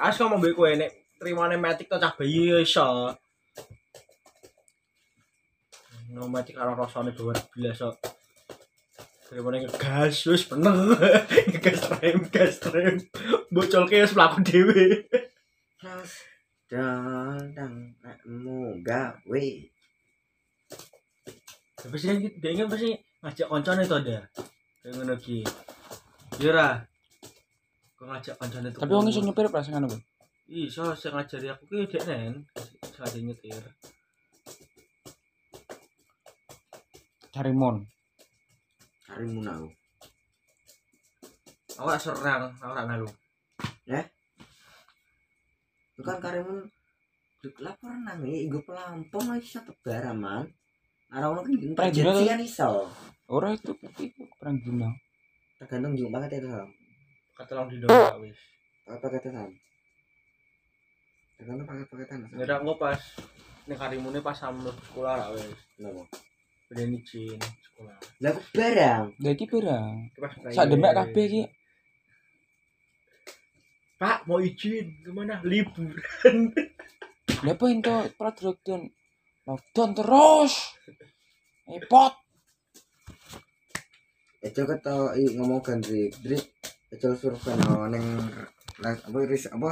Awas kok mbek kowe nek trimane metik to cah bayi ya iso. No metik karo rasane bawa belas kok. Trimane ngegas wis bener. Ngegas rem, gas rem. Bocolke wis mlaku dhewe. Dadang eh, nekmu gawe. Tapi sih dia ini pasti ngajak koncone to dia. Kayak ngono ki. Yura. Kok ngajak koncone tuh. Tapi wong iso nyupir pas ngono kuwi. Iso sing ngajari aku ki dek nen. Sekali nyetir. Cari mon. Karimu nau. Aku gak serang, aku gak ngalu. Bukan karimu duk lapor nang ya iku pelampung lah, iso tebar aman. Ana ono ki Pernah juga perjanjian iso. Ora itu itu perang dunia. Tergantung jumlah banget itu. Katolong di doa wis. Paket-paketan. Tergantung paket-paketan. Ngira aku pas ning karimune pas sampe sekolah ra wis. Kenapa? Beden izin sekolah. Lah aku barang. Lah iki pira? Ki Pas private. Sak demek kabeh iki. Pak mau izin kemana? Liburan. Lah apa ento production lockdown terus. Eh, Repot. Ejo ketok i ngomong gandrik. Drik ejo survei nang neng apa ris apa